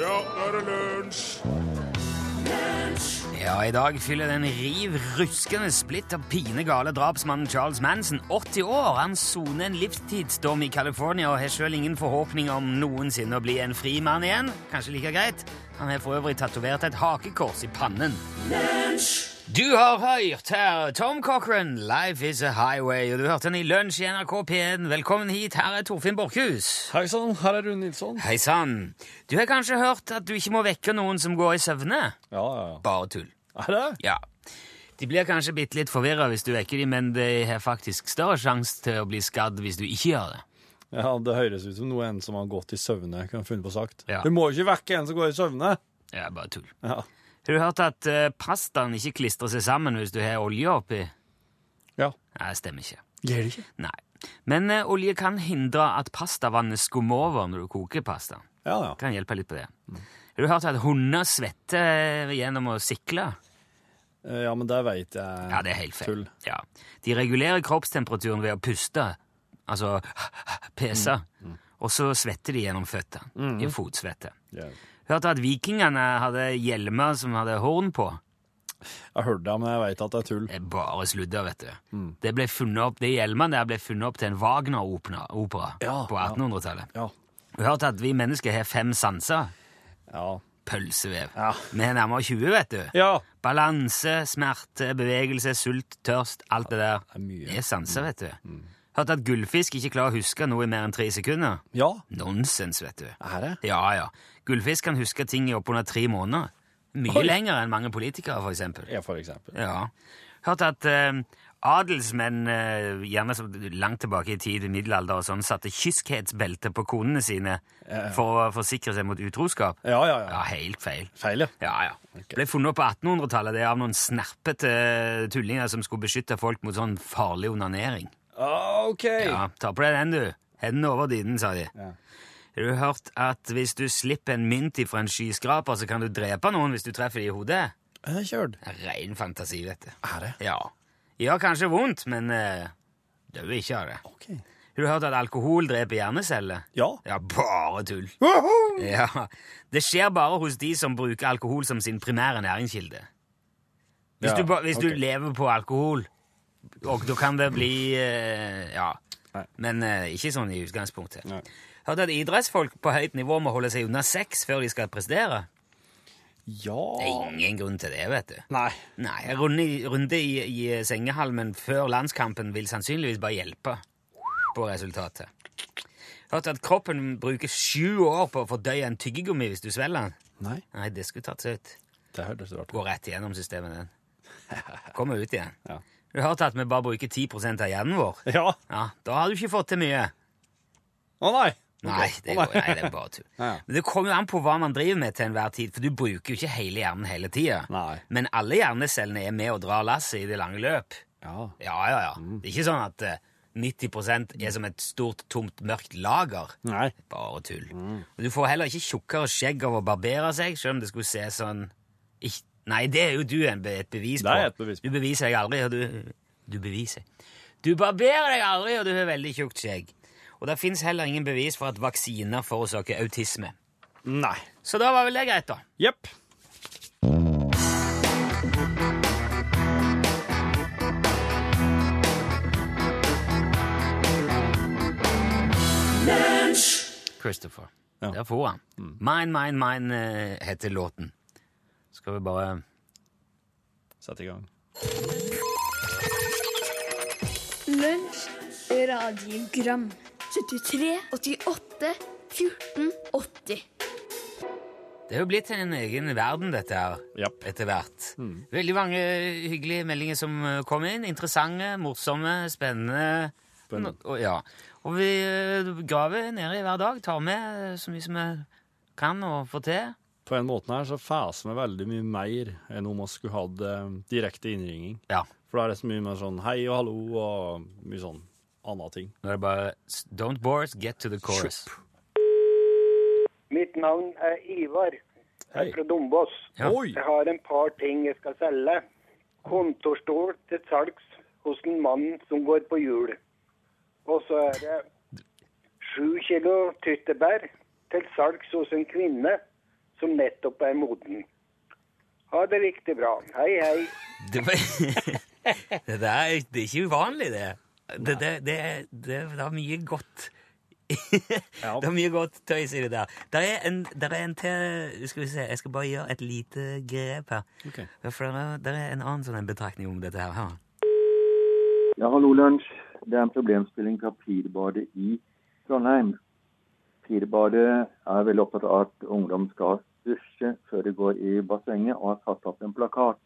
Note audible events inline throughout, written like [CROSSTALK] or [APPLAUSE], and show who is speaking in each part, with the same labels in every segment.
Speaker 1: Ja, nå er det lunsj!
Speaker 2: Ja, i dag fyller den riv ruskende, splitter pinegale drapsmannen Charles Manson 80 år. Han soner en livstidsdom i California og har sjøl ingen forhåpning om noensinne å bli en fri mann igjen. Kanskje like greit. Han har for øvrig tatovert et hakekors i pannen. Du har hørt her Tom Cochran, 'Life Is A Highway', og du hørte den i Lunsj i NRK P1. Velkommen hit, her er Torfinn Borchhus.
Speaker 3: Hei sann, her er Rune Nilsson.
Speaker 2: Hei sann. Du har kanskje hørt at du ikke må vekke noen som går i søvne?
Speaker 3: Ja, ja,
Speaker 2: Bare tull.
Speaker 3: ja. Er det?
Speaker 2: Ja. De blir kanskje bitte litt forvirra hvis du vekker dem, men de har faktisk større sjanse til å bli skadd hvis du ikke gjør det.
Speaker 3: Ja, Det høres ut som noe en som har gått i søvne, kan finne på sagt.
Speaker 2: Ja.
Speaker 3: Du må jo ikke vekke en som går i søvne!
Speaker 2: Det er bare tull.
Speaker 3: Ja,
Speaker 2: Har du hørt at eh, pastaen ikke klistrer seg sammen hvis du har olje oppi?
Speaker 3: ja.
Speaker 2: Nei, det stemmer ikke.
Speaker 3: Gjør det ikke?
Speaker 2: Nei. Men eh, olje kan hindre at pastavannet skummer over når du koker pasta.
Speaker 3: Ja, ja.
Speaker 2: Kan hjelpe litt på det. Har du hørt at hunder svetter eh, gjennom å sikle?
Speaker 3: Eh, Ja, men det veit jeg.
Speaker 2: Ja, det er helt feil.
Speaker 3: Tull.
Speaker 2: Ja. De regulerer kroppstemperaturen ved å puste, altså [LAUGHS] pese,
Speaker 3: Mm,
Speaker 2: og så svetter de gjennom føttene, i fotsvette.
Speaker 3: Ja.
Speaker 2: Hørte at vikingene hadde hjelmer som hadde horn på.
Speaker 3: Jeg hørte det, men jeg veit at det er tull.
Speaker 2: Det er bare sludder, vet du.
Speaker 3: Mm.
Speaker 2: Det ble funnet opp, De hjelmene der ble funnet opp til en Wagner-opera
Speaker 3: Ja,
Speaker 2: på
Speaker 3: ja.
Speaker 2: 1800-tallet.
Speaker 3: Ja.
Speaker 2: Hørte at vi mennesker har fem sanser.
Speaker 3: Ja.
Speaker 2: Pølsevev.
Speaker 3: Ja.
Speaker 2: Vi er nærmere 20, vet du.
Speaker 3: ja.
Speaker 2: Balanse, smerte, bevegelse, sult, tørst, alt det der.
Speaker 3: er mye. Mm.
Speaker 2: Det er sanser, vet du. Hørt at gullfisk ikke klarer å huske noe i mer enn tre sekunder?
Speaker 3: ja.
Speaker 2: Nonsens, vet du.
Speaker 3: Er det?
Speaker 2: Ja, ja. Gullfisk kan huske ting i oppunder tre måneder. Mye
Speaker 3: Oi.
Speaker 2: lenger enn mange politikere, for eksempel.
Speaker 3: Ja, for eksempel.
Speaker 2: Ja. Hørt at eh, adelsmenn, eh, gjerne så langt tilbake i tid, i middelalder og sånn, satte kyskhetsbelte på konene sine for å forsikre seg mot utroskap.
Speaker 3: Ja, ja, ja.
Speaker 2: Ja, helt feil.
Speaker 3: Feil, ja.
Speaker 2: Ja, ja. Ble funnet opp på 1800-tallet det er av noen snerpete eh, tullinger som skulle beskytte folk mot sånn farlig onanering.
Speaker 3: Ah, OK.
Speaker 2: Ja, ta på deg den, du. Hendene over dynen, sa de. Har du hørt at hvis du slipper en mynt ifra en skyskraper, så kan du drepe noen hvis du treffer dem i hodet?
Speaker 3: Er det kjørt?
Speaker 2: Det er Ren fantasi, vet du.
Speaker 3: Er det?
Speaker 2: Ja. Gjør kanskje vondt, men uh, dør ikke av det.
Speaker 3: OK.
Speaker 2: Har du hørt at alkohol dreper hjerneceller?
Speaker 3: Ja.
Speaker 2: Ja, bare tull. [LAUGHS]
Speaker 3: Woho!
Speaker 2: Ja, Det skjer bare hos de som bruker alkohol som sin primære næringskilde. Hvis,
Speaker 3: Ja,
Speaker 2: du, ba- hvis
Speaker 3: ok.
Speaker 2: du lever på alkohol, og da kan det bli eh, Ja.
Speaker 3: Nei.
Speaker 2: Men eh, ikke sånn i utgangspunktet.
Speaker 3: Nei.
Speaker 2: Hørte at idrettsfolk på høyt nivå må holde seg unna sex før de skal prestere. Det
Speaker 3: Ja
Speaker 2: er ingen grunn til det, vet du.
Speaker 3: Nei.
Speaker 2: Nei, En runde, i- runde i, i sengehalmen før landskampen vil sannsynligvis bare hjelpe på resultatet. Hørte at kroppen bruker sju år på å fordøye en tyggegummi hvis du svelger den.
Speaker 3: Nei.
Speaker 2: Nei, det skulle tatt seg ut.
Speaker 3: Det hørtes rart ut.
Speaker 2: Gå rett igjennom systemet,
Speaker 3: [LAUGHS]
Speaker 2: den. Kommer ut igjen.
Speaker 3: Ja.
Speaker 2: Du hørte at vi bare bruker 10 av hjernen vår?
Speaker 3: Ja. Å
Speaker 2: Ja, Da har du ikke fått til mye.
Speaker 3: nei.
Speaker 2: Nei, det,
Speaker 3: Å,
Speaker 2: går, nei, det er bare tull.
Speaker 3: Ja, ja.
Speaker 2: Men det kommer jo an på hva man driver med til enhver tid, for du bruker jo ikke hele hjernen hele tida.
Speaker 3: Nei.
Speaker 2: Men alle hjernecellene er med og drar lasset i det lange løp.
Speaker 3: Ja.
Speaker 2: Ja, ja, ja.
Speaker 3: Mm.
Speaker 2: Det er ikke sånn at eh, 90 er som et stort, tomt, mørkt lager.
Speaker 3: Nei.
Speaker 2: Bare tull.
Speaker 3: Mm.
Speaker 2: Og du får heller ikke tjukkere skjegg av å barbere seg, selv om det skulle se sånn Ik Nei, det er jo du en be et bevis på.
Speaker 3: Det er et bevis på.
Speaker 2: Du beviser deg aldri, og du Du beviser. Du barberer deg aldri, og du har veldig tjukt skjegg. Og det fins heller ingen bevis for at vaksiner forårsaker autisme.
Speaker 3: Nei.
Speaker 2: Så da var vel det greit, da.
Speaker 3: Jepp.
Speaker 2: Christopher.
Speaker 3: Ja. Mm.
Speaker 2: Der for han. Mine, mine, mine eh, heter låten. Skal vi bare
Speaker 3: Sett i gang.
Speaker 4: Lunsj, radiogram 73, 88, 14, 80
Speaker 2: Det er jo blitt en egen verden, dette her,
Speaker 3: Japp.
Speaker 2: etter hvert.
Speaker 3: Mm.
Speaker 2: Veldig mange hyggelige meldinger som eh, kom inn. Interessante, morsomme, spennende.
Speaker 3: Spennende.
Speaker 2: Og, ja. og vi eh, graver nedi hver dag, tar med eh, så mye som vi kan og får til.
Speaker 3: På en måte her så fæser vi veldig mye mer enn om vi skulle hatt eh, direkte innringing.
Speaker 2: Ja,
Speaker 3: For da er det så mye mer sånn hei og hallo og mye sånn anna ting.
Speaker 2: nå er det bare s- Don't bore us, get to the chorus.
Speaker 5: Mitt navn er Ivar. Jeg
Speaker 3: Hei.
Speaker 5: er fra Dombås.
Speaker 2: Ja.
Speaker 3: Oi!
Speaker 5: Jeg har en par ting jeg skal selge. Kontorstol til salgs hos en mann som går på hjul. Og så er det sju kilo tyttebær til salgs hos en kvinne som nettopp er moden. Ha det riktig bra. Hei, hei.
Speaker 2: [LAUGHS] Det, var- [LAUGHS] det, der, det er ikke uvanlig, det. Det, det, det, er- det, det er mye godt [LAUGHS]
Speaker 3: Ja.
Speaker 2: Det er mye godt tøys i det der. Der er en, der er en til Skal vi se, jeg skal bare gjøre et lite grep her.
Speaker 3: Ok.
Speaker 2: Ja, For der er, der er en annen sånn en betraktning om dette her. her.
Speaker 6: Ja, hallo, lunsj. Det er en problemstilling fra Pirbadet i Trondheim. Pirbadet er veldig opptatt av at ungdom skal dusje før de går i bassenget, og har satt opp en plakat.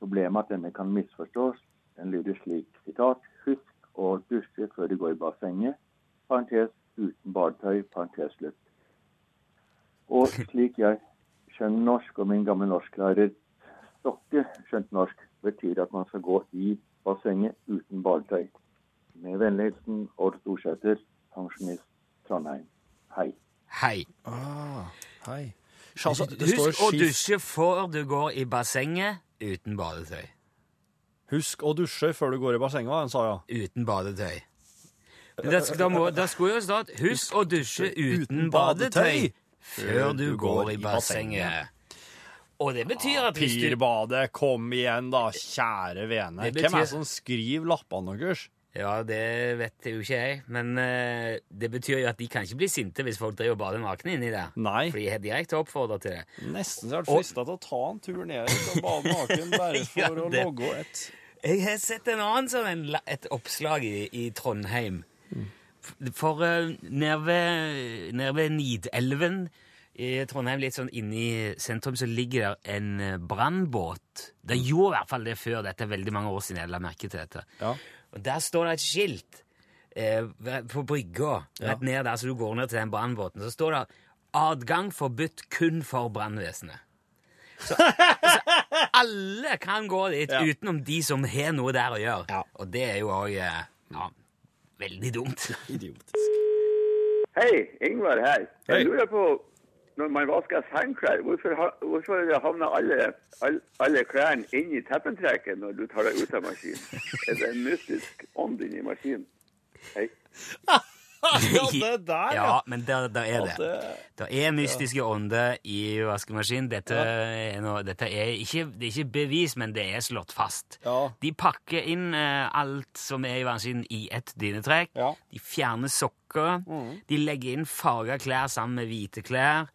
Speaker 6: Problemet er at denne kan misforstås. Den lyder slik, sitat, husk å dusje før du går i bassenget, parentes uten badetøy, parentes slutt. Og slik jeg skjønner norsk, og min gamle norsklærer Stokke skjønte norsk, betyr at man skal gå i bassenget uten badetøy. Med vennlig hilsen Odd Storsæter, pensjonist Trondheim. Hei.
Speaker 2: Hei.
Speaker 3: Ah, hei.
Speaker 2: Altså, Husk å dusje før du går i bassenget uten badetøy.
Speaker 3: Husk å dusje før du går i bassenget, han sa ja.
Speaker 2: Uten badetøy. Men Da, sk- da, må, da skulle jo stått 'Husk å dusje uten badetøy før du går i bassenget'. Og det betyr at hvis du
Speaker 3: Pirbadet, kom igjen da, kjære vene.
Speaker 2: Det betyr-
Speaker 3: Hvem er det som skriver lappene deres?
Speaker 2: Ja, det vet jo ikke jeg, men eh, det betyr jo at de kan ikke bli sinte hvis folk driver og bader nakne inni der.
Speaker 3: Nei.
Speaker 2: For de er direkte oppfordret til det.
Speaker 3: Nesten så jeg har vært frista til å ta en tur ned og bade naken [LAUGHS] bare for
Speaker 2: Ja,
Speaker 3: å
Speaker 2: det-
Speaker 3: logge et
Speaker 2: Jeg har sett en annen sånn en, la- et oppslag i, i Trondheim. F- For eh, nede ved, nede ved Nidelven i Trondheim, litt sånn inni sentrum, så ligger der en eh, brannbåt. Det gjorde i hvert fall det før. Dette er veldig mange år siden jeg la merke til dette.
Speaker 3: Ja.
Speaker 2: Og der står det et skilt eh, ved- på brygga, rett ned der, så du går ned til den brannbåten. Så står det 'Adgang forbudt kun for brannvesenet'. Så, så alle kan gå dit
Speaker 3: Ja.
Speaker 2: utenom de som har noe der å gjøre.
Speaker 3: Ja.
Speaker 2: Og det er jo òg eh, ja, veldig dumt.
Speaker 3: Idiotisk.
Speaker 7: Hei, Ingvar her.
Speaker 3: Hei.
Speaker 7: Jeg lurer på, når man vasker sengklær, hvorfor, ha- hvorfor havner alle, all- alle klærne inn i teppentrekket når du tar deg ut av maskinen? Er det en mystisk ånd inni maskinen? Hei.
Speaker 3: [LAUGHS] [LAUGHS] Ja, det der, ja.
Speaker 2: Ja, men der, der er det.
Speaker 3: Det-
Speaker 2: Det er mystiske ånder i vaskemaskinen. Dette, er noe, dette er, ikke, det er ikke bevis, men det er slått fast.
Speaker 3: Ja.
Speaker 2: De pakker inn eh, alt som er i vaskemaskinen, i ett dynetrekk.
Speaker 3: Ja. Mm.
Speaker 2: De fjerner sokker. De legger inn farga klær sammen med hvite klær.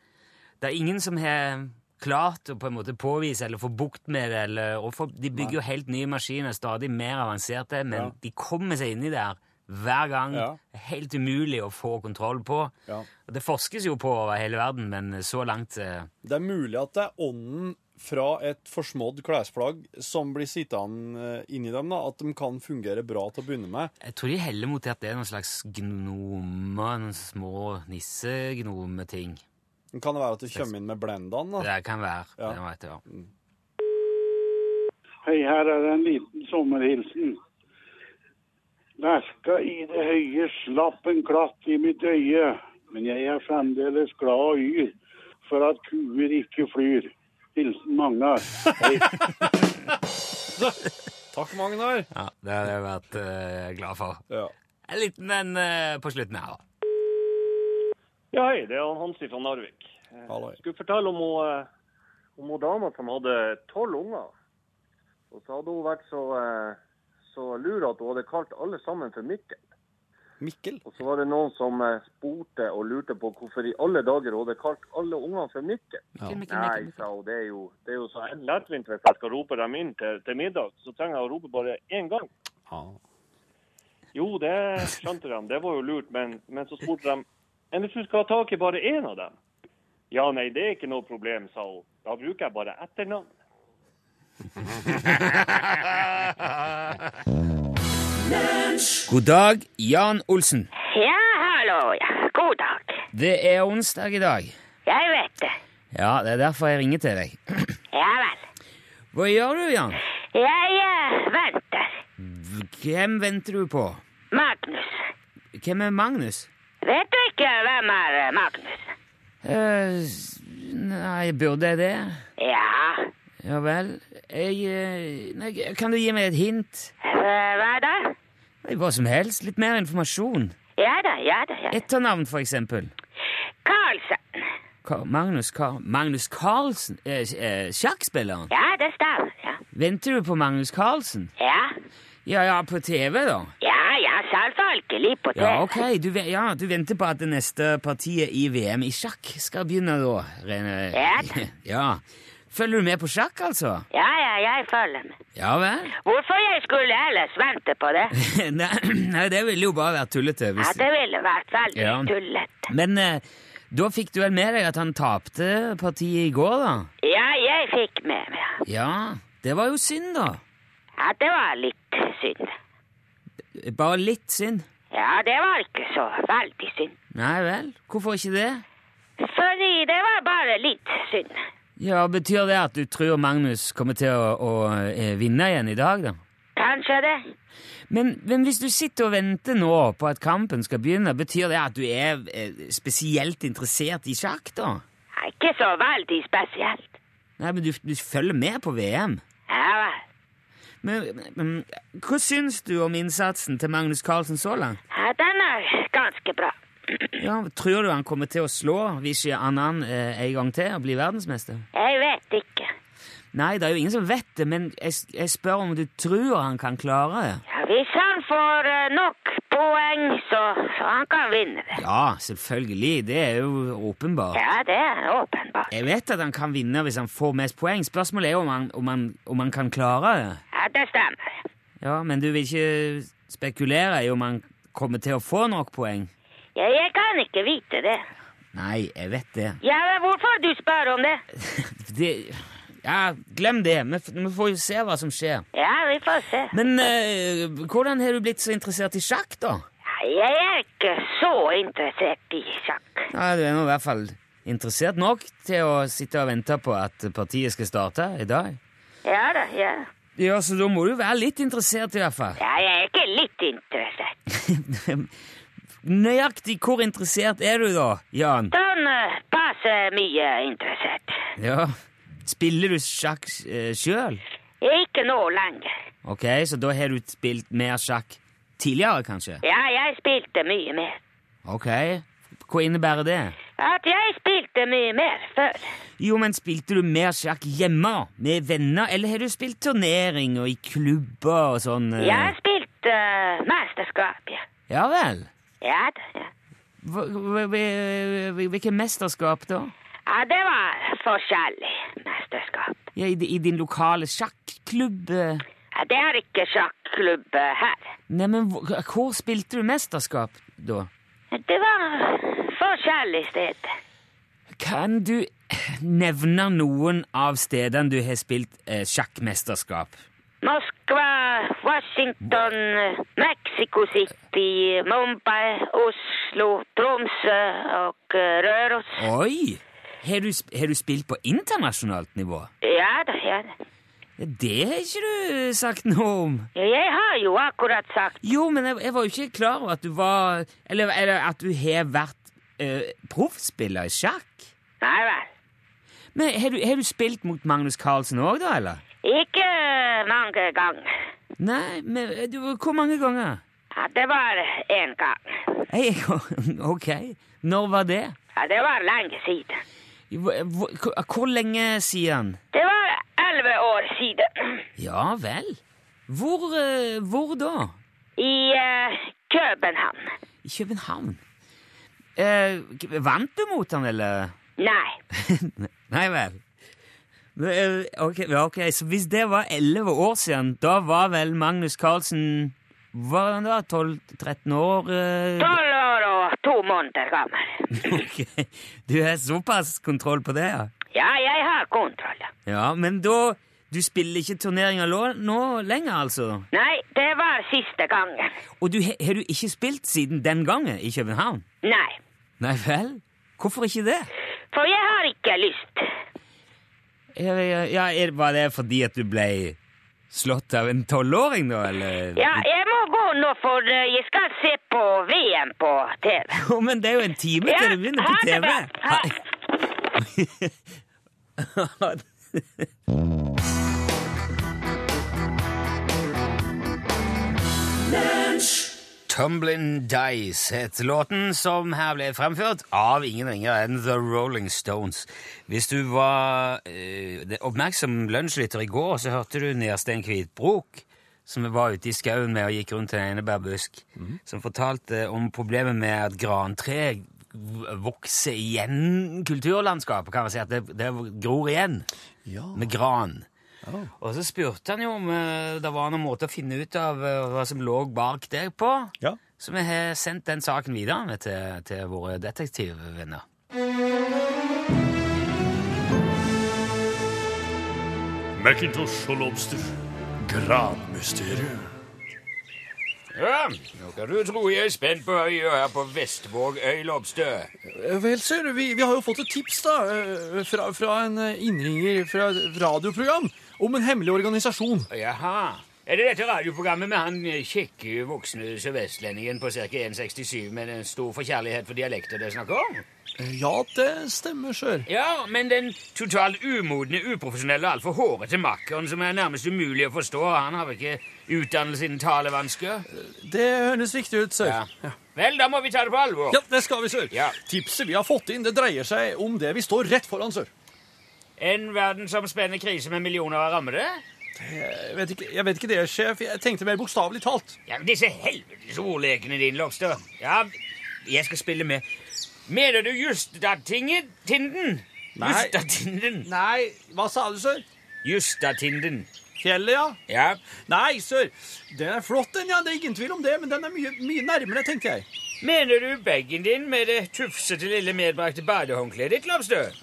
Speaker 2: Det er ingen som har klart å på en måte påvise eller få bukt med det. Eller, og for, de bygger jo helt nye maskiner, stadig mer avanserte, men
Speaker 3: Ja.
Speaker 2: de kommer seg inni der hver gang.
Speaker 3: Ja.
Speaker 2: Helt umulig å få kontroll på.
Speaker 3: Ja.
Speaker 2: Og Det forskes jo på over hele verden, men så langt eh,
Speaker 3: Det er mulig at det er ånden fra et forsmådd klesplagg som blir sittende eh, inni dem, da, at de kan fungere bra til å begynne med.
Speaker 2: Jeg tror de heller mot at det er noen slags gnomer, noen små nissegnometing.
Speaker 3: Men Kan det være at det kommer inn med blendaen? da?
Speaker 2: Det kan være.
Speaker 3: Ja.
Speaker 2: Det vet jeg.
Speaker 8: Hei, her er en liten sommerhilsen. Verka i det høye slapp en klatt i mitt øye, men jeg er fremdeles glad og yr for at kuer ikke flyr. Hilsen Magnar. Hei.
Speaker 3: Takk, Magnar!
Speaker 2: Ja, det har jeg vært eh, glad for.
Speaker 3: Ja.
Speaker 2: En liten en eh, på slutten her. da.
Speaker 9: Ja, hei, det er Hansi fra Narvik.
Speaker 3: Hallo.
Speaker 9: Jeg skulle fortelle om hun, eh, om hun dama som hadde tolv unger. Og så hadde hun vært så, eh, så lur at hun hadde kalt alle sammen for Mikkel.
Speaker 3: Mikkel?
Speaker 9: Og så var det noen som eh, spurte og lurte på hvorfor i alle dager hun hadde kalt alle ungene for Mikkel. Nei, sa hun, det er jo, det er jo så lettvint hvis jeg skal rope dem inn til, til middag, så trenger jeg å rope bare én gang.
Speaker 3: Ja.
Speaker 9: Jo, det skjønte de, det var jo lurt, men, men så spurte de Men hvis du skal ha tak i bare én av dem? Ja, nei, det er ikke noe problem, sa hun. Da bruker jeg bare etternavn.
Speaker 2: God dag, Jan Olsen.
Speaker 10: Ja, hallo, ja. God dag.
Speaker 2: Det er onsdag i dag.
Speaker 10: Jeg vet det.
Speaker 2: Ja, det er derfor jeg ringer til deg. [CLEARS THROAT]
Speaker 10: Ja vel.
Speaker 2: Hva gjør du, Jan?
Speaker 10: Jeg eh, venter.
Speaker 2: Hvem venter du på?
Speaker 10: Magnus.
Speaker 2: Hvem er Magnus?
Speaker 10: Vet du ikke hvem er eh, Magnus?
Speaker 2: Eh, s- nei, burde jeg det?
Speaker 10: Ja.
Speaker 2: Ja vel. Jeg, eh, nei, kan du gi meg et hint?
Speaker 10: Eh, Hva da?
Speaker 2: Nei, Hva som helst. Litt mer informasjon.
Speaker 10: Ja da, ja da. ja.
Speaker 2: Etternavn, for eksempel.
Speaker 10: Karlsen.
Speaker 2: Ka Magnus, Ka Magnus Carlsen? Eh, eh, sjakkspilleren?
Speaker 10: Ja, det stemmer. Ja.
Speaker 2: Venter du på Magnus Carlsen?
Speaker 10: ja,
Speaker 2: Ja, ja, på TV, da.
Speaker 10: ja, altså ja selvfølgelig på TV.
Speaker 2: Ja, ok. Du, ve- ja, du venter på at det neste partiet i VM i sjakk skal begynne, da? Rene.
Speaker 10: Ja, da.
Speaker 2: [LAUGHS] ja. Følger du med på sjakk, altså?
Speaker 10: Ja, ja, jeg følger med.
Speaker 2: Ja vel?
Speaker 10: Hvorfor jeg skulle ellers vente på det?
Speaker 2: [LAUGHS] Nei, [CLEARS THROAT] nei, det ville jo bare vært tullete.
Speaker 10: Ja,
Speaker 2: Hvis...
Speaker 10: det ville vært veldig
Speaker 2: Altså- Ja.
Speaker 10: tullet.
Speaker 2: Men eh, da fikk du vel med deg at han tapte partiet i går, da?
Speaker 10: Ja, jeg fikk med meg.
Speaker 2: Ja, det var jo synd, da.
Speaker 10: Ja, det var litt synd.
Speaker 2: Bare litt synd.
Speaker 10: Ja, det var ikke så veldig synd.
Speaker 2: Nei vel, hvorfor ikke det?
Speaker 10: Fordi det var bare litt synd.
Speaker 2: Ja, Betyr det at du tror Magnus kommer til å, å eh, vinne igjen i dag, da?
Speaker 10: Kanskje det?
Speaker 2: Men, men hvis du sitter og venter nå på at kampen skal begynne, betyr det at du er eh, spesielt interessert i sjakk, da?
Speaker 10: Ja, Ikke så veldig spesielt.
Speaker 2: Nei, men du, du følger med på VM.
Speaker 10: Ja, vel.
Speaker 2: Men, men, men hva syns du om innsatsen til Magnus Carlsen så langt?
Speaker 10: ja, den er ganske bra.
Speaker 2: Ja, Tror du han kommer til å slå Vichy Annan eh, en gang til og bli verdensmester?
Speaker 10: Jeg vet ikke.
Speaker 2: Nei, det er jo ingen som vet det, men jeg, jeg spør om du tror han kan klare det?
Speaker 10: Ja, hvis han får eh, nok poeng, så, så han kan vinne det.
Speaker 2: Ja, selvfølgelig. Det er jo åpenbart.
Speaker 10: Ja, det er åpenbart.
Speaker 2: Jeg vet at han kan vinne hvis han får mest poeng. Spørsmålet er jo om han, om han, om han kan klare det.
Speaker 10: Ja, det stemmer.
Speaker 2: Ja, Men du vil ikke spekulere i om han kommer til å få nok poeng?
Speaker 10: Ja, jeg kan ikke vite det.
Speaker 2: Nei, jeg vet det.
Speaker 10: Ja, men hvorfor du spør om det?
Speaker 2: det ja, glem det. Vi, f- vi får jo se hva som skjer.
Speaker 10: Ja, vi får se.
Speaker 2: Men eh, hvordan har du blitt så interessert i sjakk, da?
Speaker 10: Ja, Jeg er ikke så interessert i sjakk.
Speaker 2: Ja, Du er nå i hvert fall interessert nok til å sitte og vente på at partiet skal starte i dag.
Speaker 10: Ja da, ja.
Speaker 2: Ja, så da må du være litt interessert, i hvert fall.
Speaker 10: Ja, jeg er ikke litt interessert.
Speaker 2: [LAUGHS] Nøyaktig hvor interessert er du, da, Jan?
Speaker 10: Sånn eh, passe mye interessert.
Speaker 2: Ja. Spiller du sjakk eh, sjøl?
Speaker 10: Ikke nå lenger.
Speaker 2: Ok, så da har du spilt mer sjakk tidligere, kanskje?
Speaker 10: Ja, jeg spilte mye mer.
Speaker 2: Ok. Hva innebærer det?
Speaker 10: At jeg spilte mye mer før.
Speaker 2: Jo, men spilte du mer sjakk hjemme, med venner, eller har du spilt turnering og i klubber og sånn? eh?
Speaker 10: Jeg spilte eh, mesterskap, ja.
Speaker 2: Ja vel.
Speaker 10: Ja da, ja.
Speaker 2: Hva- hva- hva- Hvilke mesterskap, da?
Speaker 10: Ja, det var forskjellig mesterskap.
Speaker 2: Ja, i, di- I din lokale sjakklubb? eh?
Speaker 10: Ja, Det er ikke sjakklubb eh, her.
Speaker 2: Nei, men hvor, hvor spilte du mesterskap, da?
Speaker 10: Det var forskjellige steder.
Speaker 2: Kan du nevne noen av stedene du har spilt eh, sjakkmesterskap?
Speaker 10: Moskva, Washington, eh, Mexico City, Mumbai, Oslo, Tromsø og eh, Røros.
Speaker 2: Oi! Har du, sp- har du spilt på internasjonalt nivå?
Speaker 10: Ja da, ja da.
Speaker 2: Det har ikke du eh, sagt noe om.
Speaker 10: Jeg har jo akkurat sagt
Speaker 2: Jo, men jeg, jeg var jo ikke klar over at du var Eller, eller at du har vært eh, proffspiller i sjakk.
Speaker 10: Nei vel.
Speaker 2: Men har du, har du spilt mot Magnus Carlsen òg, da, eller?
Speaker 10: Ikke mange ganger.
Speaker 2: Nei, men eh, du, hvor mange ganger?
Speaker 10: Ja, det var én gang.
Speaker 2: Ei gang? [LAUGHS] Ok. Når var det?
Speaker 10: Ja, det var lenge siden.
Speaker 2: Hvor, hvor, hvor lenge siden?
Speaker 10: Det var elleve år siden.
Speaker 2: Ja vel. Hvor, eh, hvor da?
Speaker 10: I eh, København.
Speaker 2: I København. Eh, k- vant du mot han, eller? [LAUGHS]
Speaker 10: Nei.
Speaker 2: Nei vel. Men, eh, Ok, ja, ok, så hvis det var elleve år siden, da var vel Magnus Carlsen Var han da 12-13 år? eh?
Speaker 10: Tolv år og to måneder gammel.
Speaker 2: [LAUGHS] Ok, Du har såpass kontroll på det, ja?
Speaker 10: Ja, jeg har kontroll.
Speaker 2: Ja, Men da Du spiller ikke turneringer lå- nå lenger, altså?
Speaker 10: Nei, det var siste gangen.
Speaker 2: Og du, har du ikke spilt siden den gangen i København?
Speaker 10: Nei,
Speaker 2: Nei vel? Hvorfor ikke det?
Speaker 10: for jeg har ikke lyst.
Speaker 2: Ja, ja, ja, er- Var det fordi at du ble slått av en tolvåring, da? Eller?
Speaker 10: Ja, jeg må gå nå, for eh, jeg skal se på VM på TV.
Speaker 2: Jo, men det er jo en time til
Speaker 10: Ja,
Speaker 2: det begynner
Speaker 10: ha
Speaker 2: på
Speaker 10: det
Speaker 2: TV!
Speaker 10: bra.
Speaker 2: Ha det. Tumbling Dice het låten som her ble fremført av ingen ringere enn The Rolling Stones. Hvis du var eh, oppmerksom lunsjlytter i går, så hørte du Nerstein Kvitbrok, som var ute i skauen med og gikk rundt en enebærbusk, som fortalte om problemet med at grantre v- vokser igjen kulturlandskapet, kan man si, at det, det gror igjen med gran. Og så spurte han jo om eh, det var noen måte å finne ut av eh, hva som lå bak der på. Så vi har sendt den saken videre med til, til våre detektivvenner.
Speaker 1: Macintosh og Lobster. Granmysteriet.
Speaker 2: Ja, nå kan du tro jeg er spent på hva jeg gjør her på Vestvåg øylobstø.
Speaker 3: Eh, Vel, sør, vi, vi har jo fått et tips da, eh, fra, fra en eh, innringer fra et radioprogram om en hemmelig organisasjon.
Speaker 2: Jaha. Er det dette radioprogrammet med han eh, kjekke voksne sørvestlendingen på ca. 1,67 med en stor forkjærlighet for dialekter det snakker om?
Speaker 3: Eh, Ja, det stemmer, sør.
Speaker 2: Ja, men den totalt umodne, uprofesjonelle og altfor hårete makkeren som er nærmest umulig å forstå, han har vel ikke utdannelse innen talevansker?
Speaker 3: Det høres riktig ut, sør.
Speaker 2: Vel, da må vi ta det på alvor.
Speaker 3: Ja, det skal vi, sør. Tipset vi har fått inn, det dreier seg om det vi står rett foran, sør.
Speaker 2: En verdensomspennende krise med millioner av rammede?
Speaker 3: Jeg vet ikke, jeg vet ikke det, sjef. Jeg tenkte mer bokstavelig talt.
Speaker 2: Ja, men disse helvetes ordlekene dine, Lokstad. Ja, jeg skal spille med. Mener du Justatinden? Tinden?
Speaker 3: Nei.
Speaker 2: Justatinden?
Speaker 3: Nei, hva sa du, sør?
Speaker 2: Justatinden.
Speaker 3: Fjellet, ja.
Speaker 2: Ja.
Speaker 3: Nei, sør. Den er flott, den, ja. Det er ingen tvil om det, men den er mye, mye nærmere, tenkte jeg.
Speaker 2: Mener du bagen din med det tufsete lille medbrakte badehåndkleet ditt, Lokstad?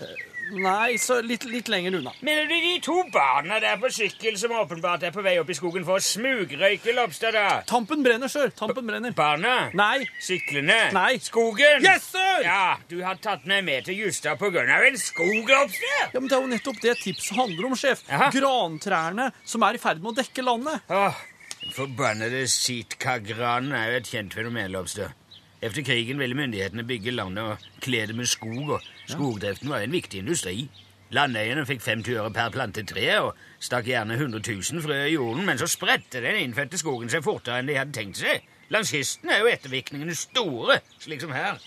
Speaker 3: Nei, sør. Litt, litt lenger unna.
Speaker 2: Mener du de to barna der på sykkel som åpenbart er på vei opp i skogen for å smugrøyke Lobstad, da?
Speaker 3: Tampen brenner, sør. Tampen brenner.
Speaker 2: Barna?
Speaker 3: Nei.
Speaker 2: Syklene?
Speaker 3: Nei.
Speaker 2: Skogen?
Speaker 3: Yes, sir!
Speaker 2: Ja, du har tatt meg med til Justad på grunn av en skog, Lobstad!
Speaker 3: Ja, men Det er jo nettopp det tipset handler om, sjef.
Speaker 2: Jaha.
Speaker 3: Grantrærne som er i ferd med å dekke landet.
Speaker 2: Åh, den forbannede sitkagran er jo et kjent fenomen, Lobstad. Efter krigen ville myndighetene bygge landet og kle det med skog, og skogdriften var en viktig industri. Landeierne fikk 50 øre per plantet tre og stakk gjerne 100 000 frø i jorden, men så spredte den innfødte skogen seg fortere enn de hadde tenkt seg. Langs kysten er jo ettervirkningene store, slik som her.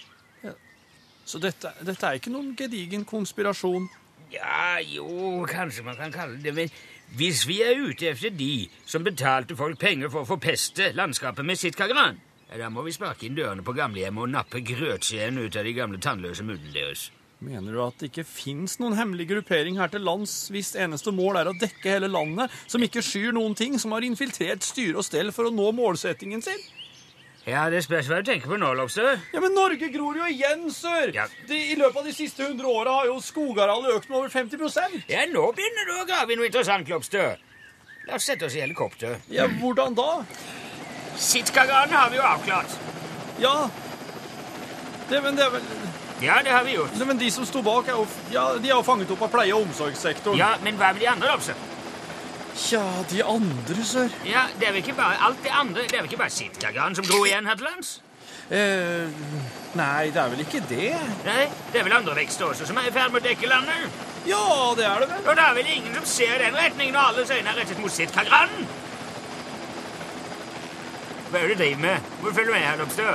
Speaker 3: Så dette, dette er ikke noen gedigen konspirasjon.
Speaker 2: Ja, jo, kanskje man kan kalle det men Hvis vi er ute efter de som betalte folk penger for å forpeste landskapet med sitt kagran, ja, da må vi sparke inn dørene på gamlehjemmet og nappe grøtskjeen ut av de gamle tannløse munnene deres.
Speaker 3: Mener du at det ikke fins noen hemmelig gruppering her til lands hvis eneste mål er å dekke hele landet, som ikke skyr noen ting, som har infiltrert styre og stell for å nå målsettingen sin?
Speaker 2: Ja, det spørs hva du tenker på nå, Lobster.
Speaker 3: Ja, Men Norge gror jo igjen, sør!
Speaker 2: Ja.
Speaker 3: De, I løpet av de siste 100 åra har jo skogarealet økt med over 50
Speaker 2: Ja, nå begynner du å grave i noe interessant, Lobster. La oss sette oss i helikopter.
Speaker 3: Ja, hvordan da?
Speaker 2: Sitkaganen har vi jo avklart.
Speaker 3: Ja det, men, det er vel,
Speaker 2: Ja, det har vi gjort.
Speaker 3: Nei, men de som sto bak, er jo, ja, de er jo fanget opp av pleie- og omsorgssektoren.
Speaker 2: Ja, men hva med de andre, Lobster?
Speaker 3: Tja, de andre, sør.
Speaker 2: Ja, det er vel ikke bare alt det andre, det er vel ikke bare sitkaganen som gror igjen her til lands?
Speaker 3: Eh, nei, det er vel ikke det?
Speaker 2: Nei, det er vel andre vekster også som er i ferd med å dekke landet.
Speaker 3: Ja, det er det vel.
Speaker 2: Og det er vel ingen som ser den retningen, og alles øyne er rettet mot sitt kagran. Hva er det du driver med? Må du følge med her, Lobstø?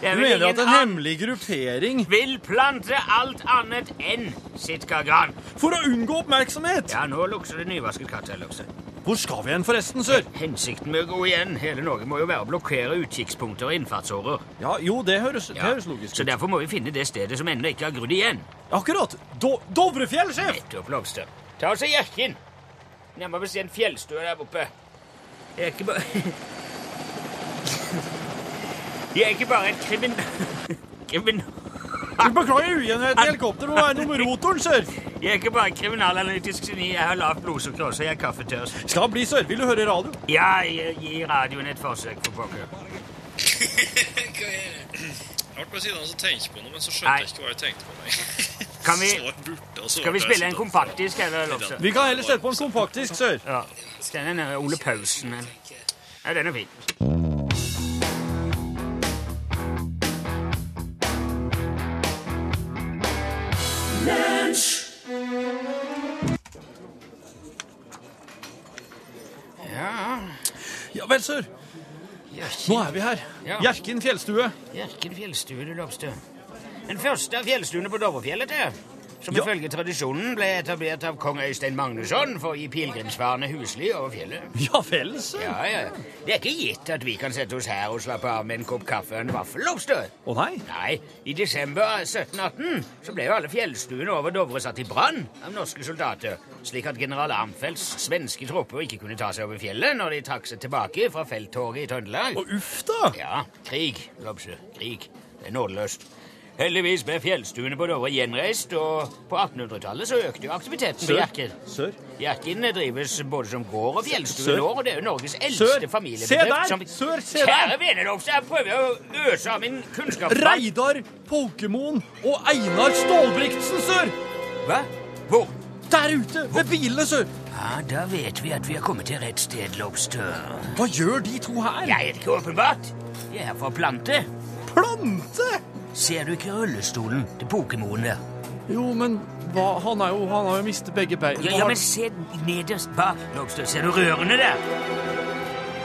Speaker 2: Det er
Speaker 3: Du
Speaker 2: vel
Speaker 3: mener
Speaker 2: ingen
Speaker 3: at en
Speaker 2: annen
Speaker 3: hemmelig gruppering
Speaker 2: vil plante alt annet enn sitt kagran.
Speaker 3: For å unngå oppmerksomhet!
Speaker 2: Ja, nå lukter det nyvasket katt her, Lobstø.
Speaker 3: Hvor skal vi hen, forresten, sør?
Speaker 2: Hensikten med å gå igjen hele Norge må jo være å blokkere utkikkspunkter og innfartsårer.
Speaker 3: Ja, Jo, det høres, det
Speaker 2: Ja,
Speaker 3: høres logisk
Speaker 2: Så
Speaker 3: ut.
Speaker 2: derfor må vi finne det stedet som ennå ikke har grudd igjen.
Speaker 3: Akkurat. Do Dovrefjell, sjef!
Speaker 2: Nettopp, Lobster. Ta oss i jakken. Nærmere bestemt fjellstue der oppe. Det er ikke bare [LAUGHS] Det er ikke bare et krimin... [LAUGHS] krimin...
Speaker 3: Du beklager ugjenhet i helikopter. Må være noe med rotoren, sør.
Speaker 2: Jeg er ikke bare kriminalanalytisk geni. Jeg har lavt blodsukker også. Jeg er kaffetørst.
Speaker 3: Skal bli, sør. Vil du høre radio?
Speaker 2: Ja, jeg gir radioen et forsøk, for pokker.
Speaker 11: Rart på siden av å tenke på noe, men så skjønte
Speaker 2: Nei.
Speaker 11: jeg ikke hva jeg tenkte på. Nei.
Speaker 2: Kan vi-
Speaker 11: Så jeg burde, altså,
Speaker 2: Skal vi
Speaker 11: jeg
Speaker 2: spille en
Speaker 11: sitte-
Speaker 2: kompaktisk, eller, Lobster?
Speaker 3: Vi kan heller sette på en kompaktisk, sør.
Speaker 2: Ja. Den er Ole Pausen. men- Ja, den er fin. Ja,
Speaker 3: Ja vel, sør. Nå er vi her.
Speaker 2: Ja.
Speaker 3: Hjerkinn fjellstue.
Speaker 2: Hjerken fjellstue, du Lobstø. Den første av fjellstuene på Dovrefjellet, det. Som ifølge tradisjonen ble etablert av kong Øystein Magnusson for å gi pilegrimsfarende husly over fjellet.
Speaker 3: Ja vel, så.
Speaker 2: Ja, ja. Det er ikke gitt at vi kan sette oss her og slappe av med en kopp kaffe og en vaffel, Lobstø.
Speaker 3: Å nei?
Speaker 2: Nei, I desember 1718 så ble jo alle fjellstuene over Dovre satt i brann av norske soldater, slik at general Armfeldts svenske tropper ikke kunne ta seg over fjellet når de trakk seg tilbake fra felttoget i Trøndelag.
Speaker 3: Og uff da!
Speaker 2: Ja, krig, Lobsø. Krig. Det er nådeløst. Heldigvis ble fjellstuene på Dovre gjenreist, og på 1800-tallet så økte jo aktiviteten på Hjerkinn.
Speaker 3: Sør.
Speaker 2: Hjerkinn drives både som gård og fjellstue
Speaker 3: Sør.
Speaker 2: nå, og det er jo Norges
Speaker 3: Sør.
Speaker 2: eldste familiebedrift.
Speaker 3: Se der!
Speaker 2: som-
Speaker 3: Sør, se der!
Speaker 2: Kjære vene, Lobsø, jeg prøver å øse av min kunnskap.
Speaker 3: Reidar Polkemoen og Einar Stålbriksen, sør!
Speaker 2: Hva? Hvor?
Speaker 3: Der ute, ved bilene, sør!
Speaker 2: Ja, Da vet vi at vi er kommet til rett sted, Lobstø.
Speaker 3: Hva gjør de to her?
Speaker 2: Jeg er ikke åpenbart. Jeg er for plante.
Speaker 3: Plante!
Speaker 2: Ser du ikke rullestolen til Pokemoen der?
Speaker 3: Jo, men hva? Han, er jo, han har jo mistet begge beina.
Speaker 2: Ja, ja, men se nederst bak, Lobstø. Ser du rørene der?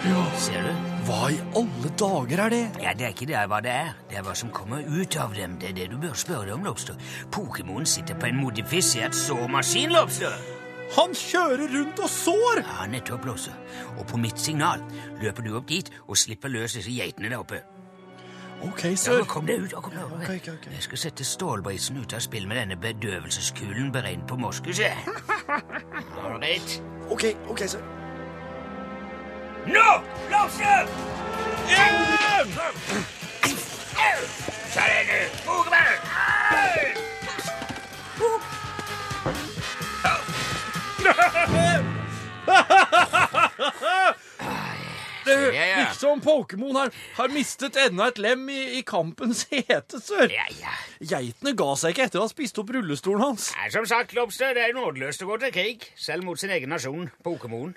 Speaker 3: Ja.
Speaker 2: Ser du?
Speaker 3: Hva i alle dager er det?
Speaker 2: Ja, Det er ikke det hva det er. Det er hva som kommer ut av dem. Det er det du bør spørre om, Lobstø. Pokemoen sitter på en modifisert såmaskin, Lobstø.
Speaker 3: Han kjører rundt og sår!
Speaker 2: Ja, nettopp, Lobstø. Og på mitt signal løper du opp dit og slipper løs disse geitene der oppe.
Speaker 3: Ok,
Speaker 2: Ja,
Speaker 3: sør.
Speaker 2: men kom deg ut. Kom deg ut.
Speaker 3: Ok, ok, ok.
Speaker 2: Jeg skal sette stålbrisen ut av spill med denne bedøvelseskulen beregnet på moskus. jeg. Ålreit.
Speaker 3: Ok, ok, sør.
Speaker 2: Nå! Lobster! Ta deg nå! Bogmann!
Speaker 3: Det
Speaker 2: Ja, ja.
Speaker 3: virker som Pokémon har, har mistet enda et lem i, i kampens [LAUGHS] hete, sør.
Speaker 2: Ja, ja.
Speaker 3: Geitene ga seg ikke etter å ha spist opp rullestolen hans.
Speaker 2: Nei, Som sagt, Lobster, det er nådeløst å gå til krig, selv mot sin egen nasjon, Pokemoen.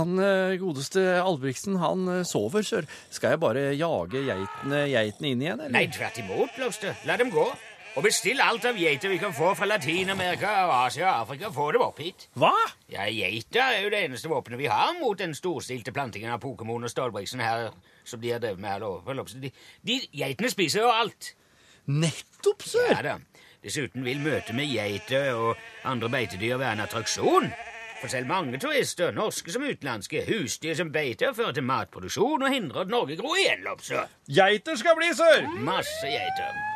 Speaker 3: Han eh, godeste Albrigtsen, han eh, sover, sør. Skal jeg bare jage geitene, geitene inn igjen, eller?
Speaker 2: Nei, tvert imot, Lobster. La dem gå. Og bestill alt av geiter vi kan få fra Latin-Amerika, og Asia og Afrika. Få dem opp hit.
Speaker 3: Hva?
Speaker 2: Ja, Geita er jo det eneste våpenet vi har mot den storstilte plantingen av Pokémon og Stålbriksen her, som de har drevet med her over. Lobster. De, de geitene spiser jo alt.
Speaker 3: Nettopp, sør!
Speaker 2: Ja da. Dessuten vil møtet med geiter og andre beitedyr være en attraksjon. For selv mange turister, norske som utenlandske, husdyr som beiter, fører til matproduksjon og hindrer at Norge gror igjen, Lobster.
Speaker 3: Geiter skal bli, sør!
Speaker 2: Masse geiter.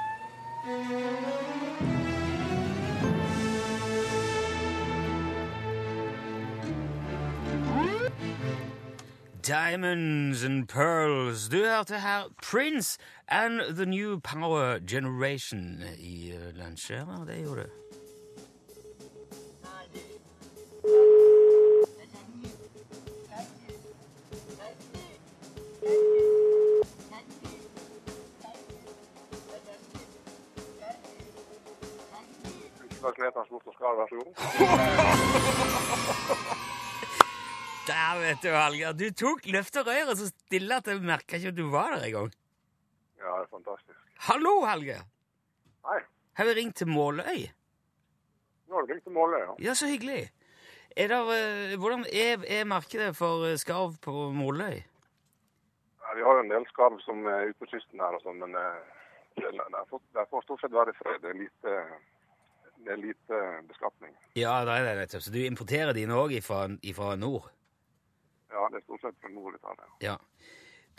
Speaker 2: Diamonds and Pearls. Du hørte her Prince and The New Power Generation i eh, Landskjæret. Det gjorde du. Der, vet du, Hallgeir. Du tok løfterøret så stille at jeg merka ikke at du var der engang.
Speaker 12: Ja, det er fantastisk.
Speaker 2: Hallo, Hallgeir.
Speaker 12: Hei.
Speaker 2: Har vi ringt til Måløy?
Speaker 12: Nå har du begynt å måle, ja.
Speaker 2: Ja, så hyggelig. Er der, eh, hvordan er, er markedet for eh, skarv på Måløy?
Speaker 12: [LAUGHS] Ja, Vi har jo en del skarv som er ute på kysten her og sånn, men eh, det det er for- det får stort sett være fred. Det er lite, det er lite beskatning.
Speaker 2: Ja, det er det nettopp. Så du importerer dine òg fra nord?
Speaker 12: Ja, det er stort sett fra nord Italia.
Speaker 2: Ja.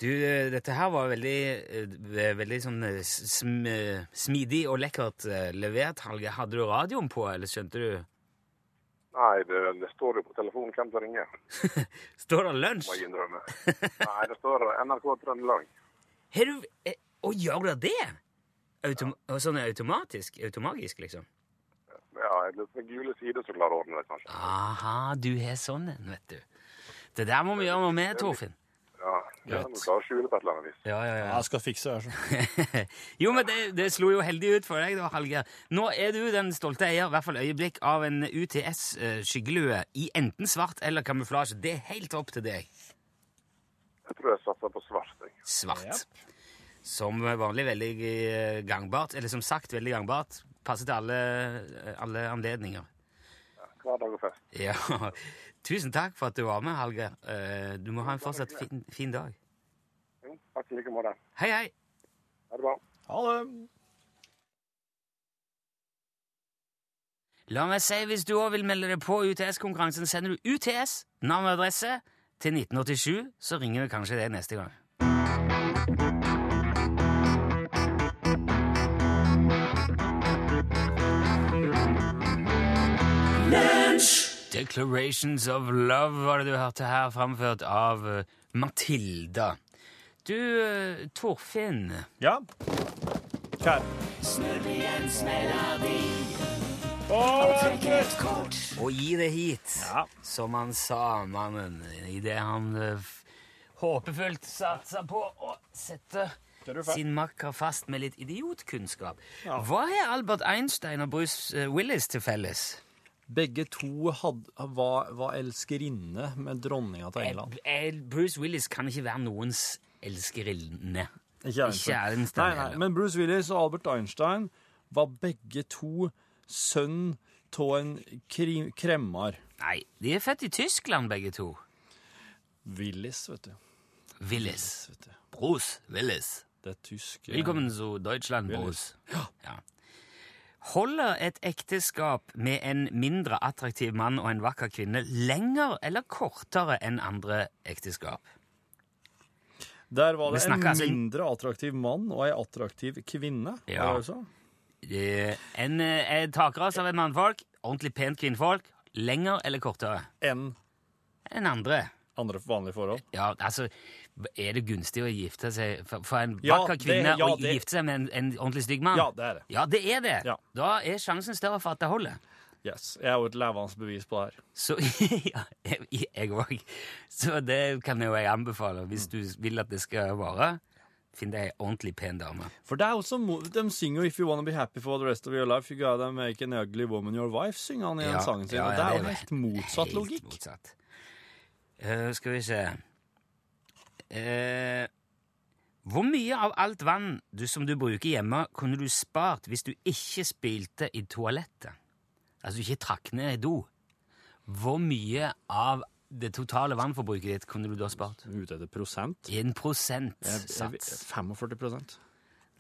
Speaker 2: Du, eh, dette her var veldig, eh, veldig sånn eh, sm, eh, smidig og lekkert eh, levert, Helge. Hadde du radioen på, eller skjønte du?
Speaker 12: Nei, det, det står jo på telefonen hvem som ringer,
Speaker 2: Står det lunsj?
Speaker 12: må jeg innrømme. Nei, det står NRK Trøndelag.
Speaker 2: Har du eh, Å, gjør det det? Autom og Sånn automatisk? Automagisk, liksom?
Speaker 12: Ja, jeg lurer på den gule side som klarer å ordne det, kanskje.
Speaker 2: Aha, du har sånn en, vet du. Det der må vi gjøre noe med, Torfinn.
Speaker 12: Ja, det må du klare å skjule på et eller annet vis.
Speaker 2: Ja, ja, ja.
Speaker 3: Jeg skal fikse det her,
Speaker 2: [LAUGHS] Jo, men det, det slo jo heldig ut for deg, da, Hallgeir. Nå er du den stolte eier, i hvert fall øyeblikk, av en UTS-skyggelue eh, i enten svart eller kamuflasje. Det er helt opp til deg.
Speaker 12: Jeg tror jeg satser på svart, jeg.
Speaker 2: Svart. Som vanlig veldig eh, gangbart, eller som sagt veldig gangbart. Passer til alle, eh, alle anledninger.
Speaker 12: Hver dag og fest.
Speaker 2: Ja. [LAUGHS] Tusen takk for at du var med, Hallgeir. Eh, Du må ha en fortsatt fin, fin dag.
Speaker 12: Jo, Takk i like måte.
Speaker 2: Hei, hei.
Speaker 12: Ha det bra.
Speaker 3: Ha det.
Speaker 2: La meg si, hvis du òg vil melde deg på UTS-konkurransen, sender du UTS, navn og adresse, til 1987, så ringer vi kanskje deg neste gang. Declarations of Love var det du hørte her, framført av eh, Matilda. Du, eh, Torfinn
Speaker 3: Ja? Kjære.
Speaker 2: Og gi det hit, som han sa, mannen, idet han eh, f- håpefullt satsa på å sette sin makker fast med litt idiotkunnskap. Hva har Albert Einstein og Bruce eh, Willis til felles?
Speaker 3: Begge to had, var, var elskerinne med dronninga til England.
Speaker 2: Eh, eh, Bruce Willis kan ikke være noens elskerinne.
Speaker 3: Einstein. Nei,
Speaker 2: Einstein
Speaker 3: nei,
Speaker 2: heller.
Speaker 3: men Bruce Willis og Albert Einstein var begge to sønn av en kri- kremmer.
Speaker 2: Nei, de er født i Tyskland, begge to.
Speaker 3: Willis, vet du.
Speaker 2: Willis. Bruce Willis.
Speaker 3: Det er tysk. eh,
Speaker 2: Velkommen til Deutschland, Bruce.
Speaker 3: Willis.
Speaker 2: Ja. Holder et ekteskap med en mindre attraktiv mann og en vakker kvinne lenger eller kortere enn andre ekteskap?
Speaker 3: Der var
Speaker 2: Vi
Speaker 3: det en
Speaker 2: snakker altså-
Speaker 3: mindre attraktiv mann og ei attraktiv kvinne.
Speaker 2: Ja.
Speaker 3: var det du sa?
Speaker 2: Eh, En, eh, en takras av et mannfolk, ordentlig pent kvinnfolk, lenger eller kortere?
Speaker 3: Enn?
Speaker 2: Enn andre.
Speaker 3: Andre vanlige forhold?
Speaker 2: Ja, altså, er det gunstig å gifte seg for, for en
Speaker 3: Ja,
Speaker 2: vakker
Speaker 3: det-
Speaker 2: kvinne
Speaker 3: ja,
Speaker 2: å
Speaker 3: det-
Speaker 2: gifte seg med en, en ordentlig stygg mann?
Speaker 3: Ja, det er det.
Speaker 2: Ja, det er det.
Speaker 3: Ja.
Speaker 2: Da er sjansen større for at det holder.
Speaker 3: Yes. Jeg er jo et levende bevis på det her.
Speaker 2: Så [LAUGHS] ja, jeg òg. Så det kan jo jeg anbefale hvis du vil at det skal vare. Finn deg ei ordentlig pen dame.
Speaker 3: For det er også, mo- De synger jo 'If you wanna be happy for the rest of your life, you gotta make an ugly woman your wife'. synger han i den sangen sin. og det er jo helt motsatt
Speaker 2: helt
Speaker 3: logikk.
Speaker 2: Motsatt. Eh, skal vi se Eh, Hvor mye av alt vann du, som du bruker hjemme, kunne du spart hvis du ikke spilte i toalettet? Altså ikke trakk ned i do. Hvor mye av det totale vannforbruket ditt kunne du da spart?
Speaker 3: Ute etter prosent?
Speaker 2: I en
Speaker 3: Jeg- jeg-
Speaker 2: prosentsats.
Speaker 3: 45 prosent.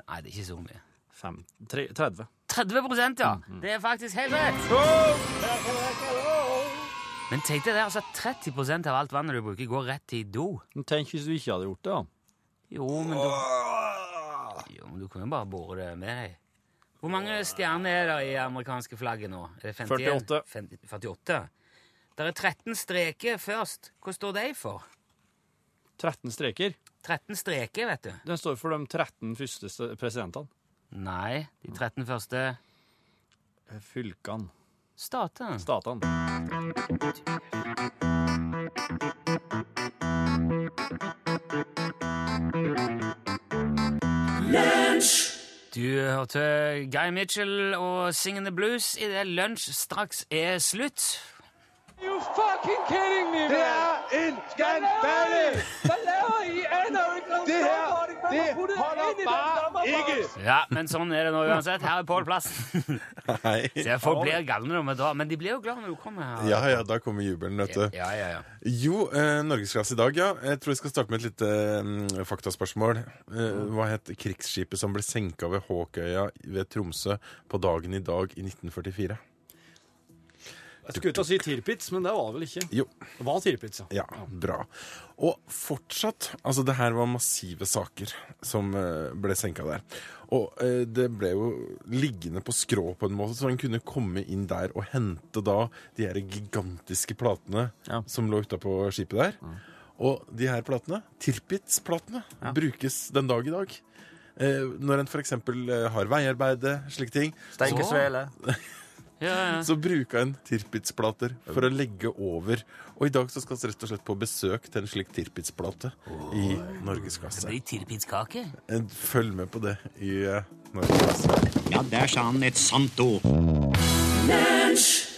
Speaker 2: Nei, det er ikke så mye.
Speaker 3: Fem, tre, 30.
Speaker 2: 30 ja! Det er faktisk helt rett! Men tenk deg det, altså 30 av alt vannet du bruker, går rett i do.
Speaker 3: Men Tenk hvis du ikke hadde gjort det, da.
Speaker 2: Jo, men du, jo, men du kan jo bare bore det med deg. Hvor mange stjerner er det i amerikanske flagget nå? Er det 51?
Speaker 3: 48.
Speaker 2: 50, 48? Det er 13 streker først. Hva står de for?
Speaker 3: 13 streker.
Speaker 2: 13 streker, vet du.
Speaker 3: Den står for de 13 første s- presidentene.
Speaker 2: Nei, de 13 første
Speaker 3: Fylkene.
Speaker 2: Statene.
Speaker 3: Statene.
Speaker 2: Du hørte Guy Mitchell og Singing the Blues idet lunsj straks er slutt.
Speaker 13: You fucking kidding me, Det er en skandale! Hva laver I aner ikke om
Speaker 14: Det her,
Speaker 13: det holder bare ikke.
Speaker 2: Ja, men sånn er det nå uansett. Her er Pål Plassen.
Speaker 15: [LAUGHS] Hei.
Speaker 2: Så folk blir galne når vi drar, men de blir jo glad når du kommer her.
Speaker 15: Ja, ja, da kommer jubelen, vet du.
Speaker 2: Ja, ja, ja.
Speaker 15: Jo, eh, norgesklasse i dag, ja. Jeg tror vi skal starte med et lite eh, faktaspørsmål. Eh,
Speaker 2: Mm.
Speaker 15: hva het krigsskipet som ble senka ved Håkøya ved Tromsø på dagen i dag i 1944?
Speaker 3: Jeg skulle til å si Tirpitz, men det var det vel ikke.
Speaker 15: Jo.
Speaker 3: Det var Tirpitz, ja.
Speaker 15: Ja, bra. Og fortsatt Altså, det her var massive saker som eh, ble senka der. Og eh, det ble jo liggende på skrå på en måte, så en kunne komme inn der og hente da de her gigantiske platene som lå utapå skipet der. Og de her platene, Tirpitz-platene, brukes den dag i dag. Eh, når en f.eks. Eh, har veiarbeide, slike ting.
Speaker 2: Steike
Speaker 15: så-
Speaker 2: svele. Ja, ja.
Speaker 15: så bruka en tirpitsplater for å legge over. Og i dag så skal vi rett og slett på besøk til en slik tirpitsplate i norgesklasse.
Speaker 2: Blir tirpitskake?
Speaker 15: En- Følg med på det i eh, norgesklasse.
Speaker 16: Ja, der sa han et sant ord.
Speaker 15: Lunsj!